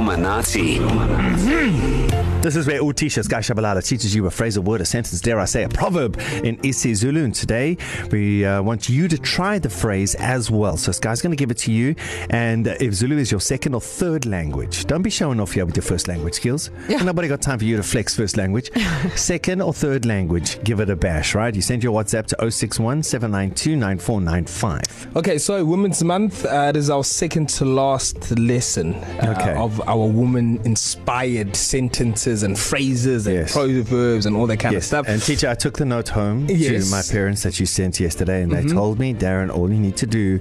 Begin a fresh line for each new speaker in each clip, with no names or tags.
Illuminati.
This is where Utisha Sky Shabalala teaches you a phrase, a word, a sentence, dare I say, a proverb in Isi Zulu. And today we uh, want you to try the phrase as well. So Sky's going to give it to you. And uh, if Zulu is your second or third language, don't be showing off here with your first language skills. Yeah. Nobody got time for you to flex first language. second or third language, give it a bash, right? You send your WhatsApp to 061 792 9495.
Okay, so Women's Month uh, it is our second to last lesson uh,
Okay.
okay. of our woman inspired sentences and phrases and
Yes.
yes. proverbs and all that kind yes. of
Yes.
stuff.
And teacher, I took the note home yes. to
Yes.
my parents that you sent yesterday, and mm-hmm. they told me, Darren, all you need to do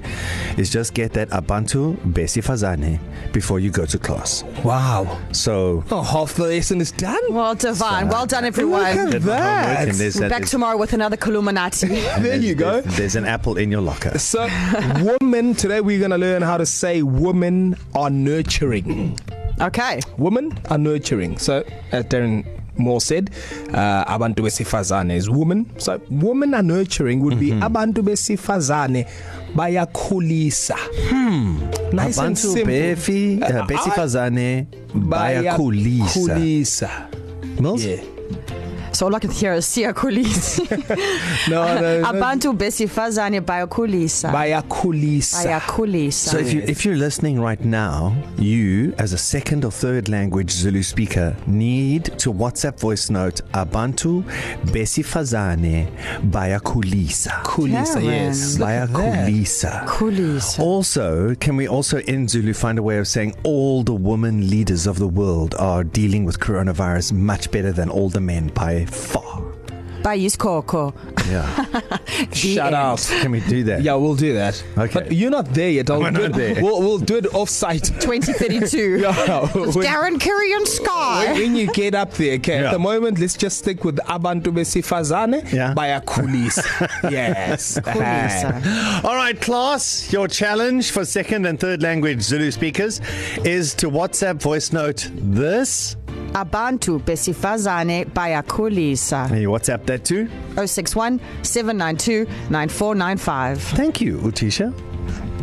is just get that Abantu Besifazane before you go to class.
wow.
So
Oh, half the lesson is done.
Well, Divine. Well done,
Look
everyone.
at
did my homework,
that.
and there's that.
Back
there's,
tomorrow with another Kaluminati.
and
There
there's,
you go.
There's, there's an apple in your locker.
So, women, today we're going to learn how to say women are nurturing.
Okay.
Women are nurturing. So, as Darren Moore said, uh, abantu besifazane is women. So, women are nurturing would be mm-hmm. abantu besifazane bayakhulisa. Hmm. Nice and
Abantu
simple.
Befi uh,
I-
Besifazane Bayakulisa.
Bayakhulisa.
Mills?
Yeah.
So all I can hear is Sia Kulisi.
Oh, No, no, no.
Abantu besifazane bayokulisa.
Bayakhulisa.
Bayakulisa.
So if you if you're listening right now, you as a second or third language Zulu speaker need to WhatsApp voice note Abantu Besifazane Bayakulisa.
Kulisa,
Karen.
yes. Look at that.
Bayakulisa.
Kulisa.
Also, can we also in Zulu find a way of saying all the women leaders of the world are dealing with coronavirus much better than all the men by far?
Bayiskoko.
Yeah.
Shout out.
Can we do that?
Yeah, we'll do that.
Okay.
But you're not there yet. I'll
We're
do
not
it,
there.
We'll, we'll do it off site.
2032.
Yeah, when,
Darren Curry and
when,
Sky.
when you get up there, okay, yeah.
Yeah.
at the moment, let's just stick with Abantu Besifazane
Yeah.
Bayakulisa. yes.
Kulisa.
All right, class, your challenge for second and third language Zulu speakers is to WhatsApp voice note this.
Abantu besifazane bayakulisa.
And you WhatsApp that too.
061 792 9495.
Thank you, Utisha.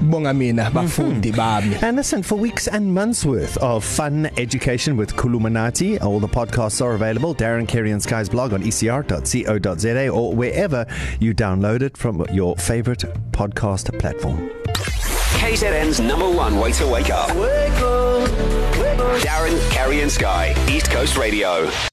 Bonga mina bafundi bami.
And listen, for weeks and months worth of fun education with Kuluminati, all the podcasts are available. Darren Carey and Sky's blog on E ecr.co.za or wherever you download it from your favorite podcast platform.
KZN's number one way to wake up. Wake up. Wake up. Darren, Carrie, and Sky. East Coast Radio.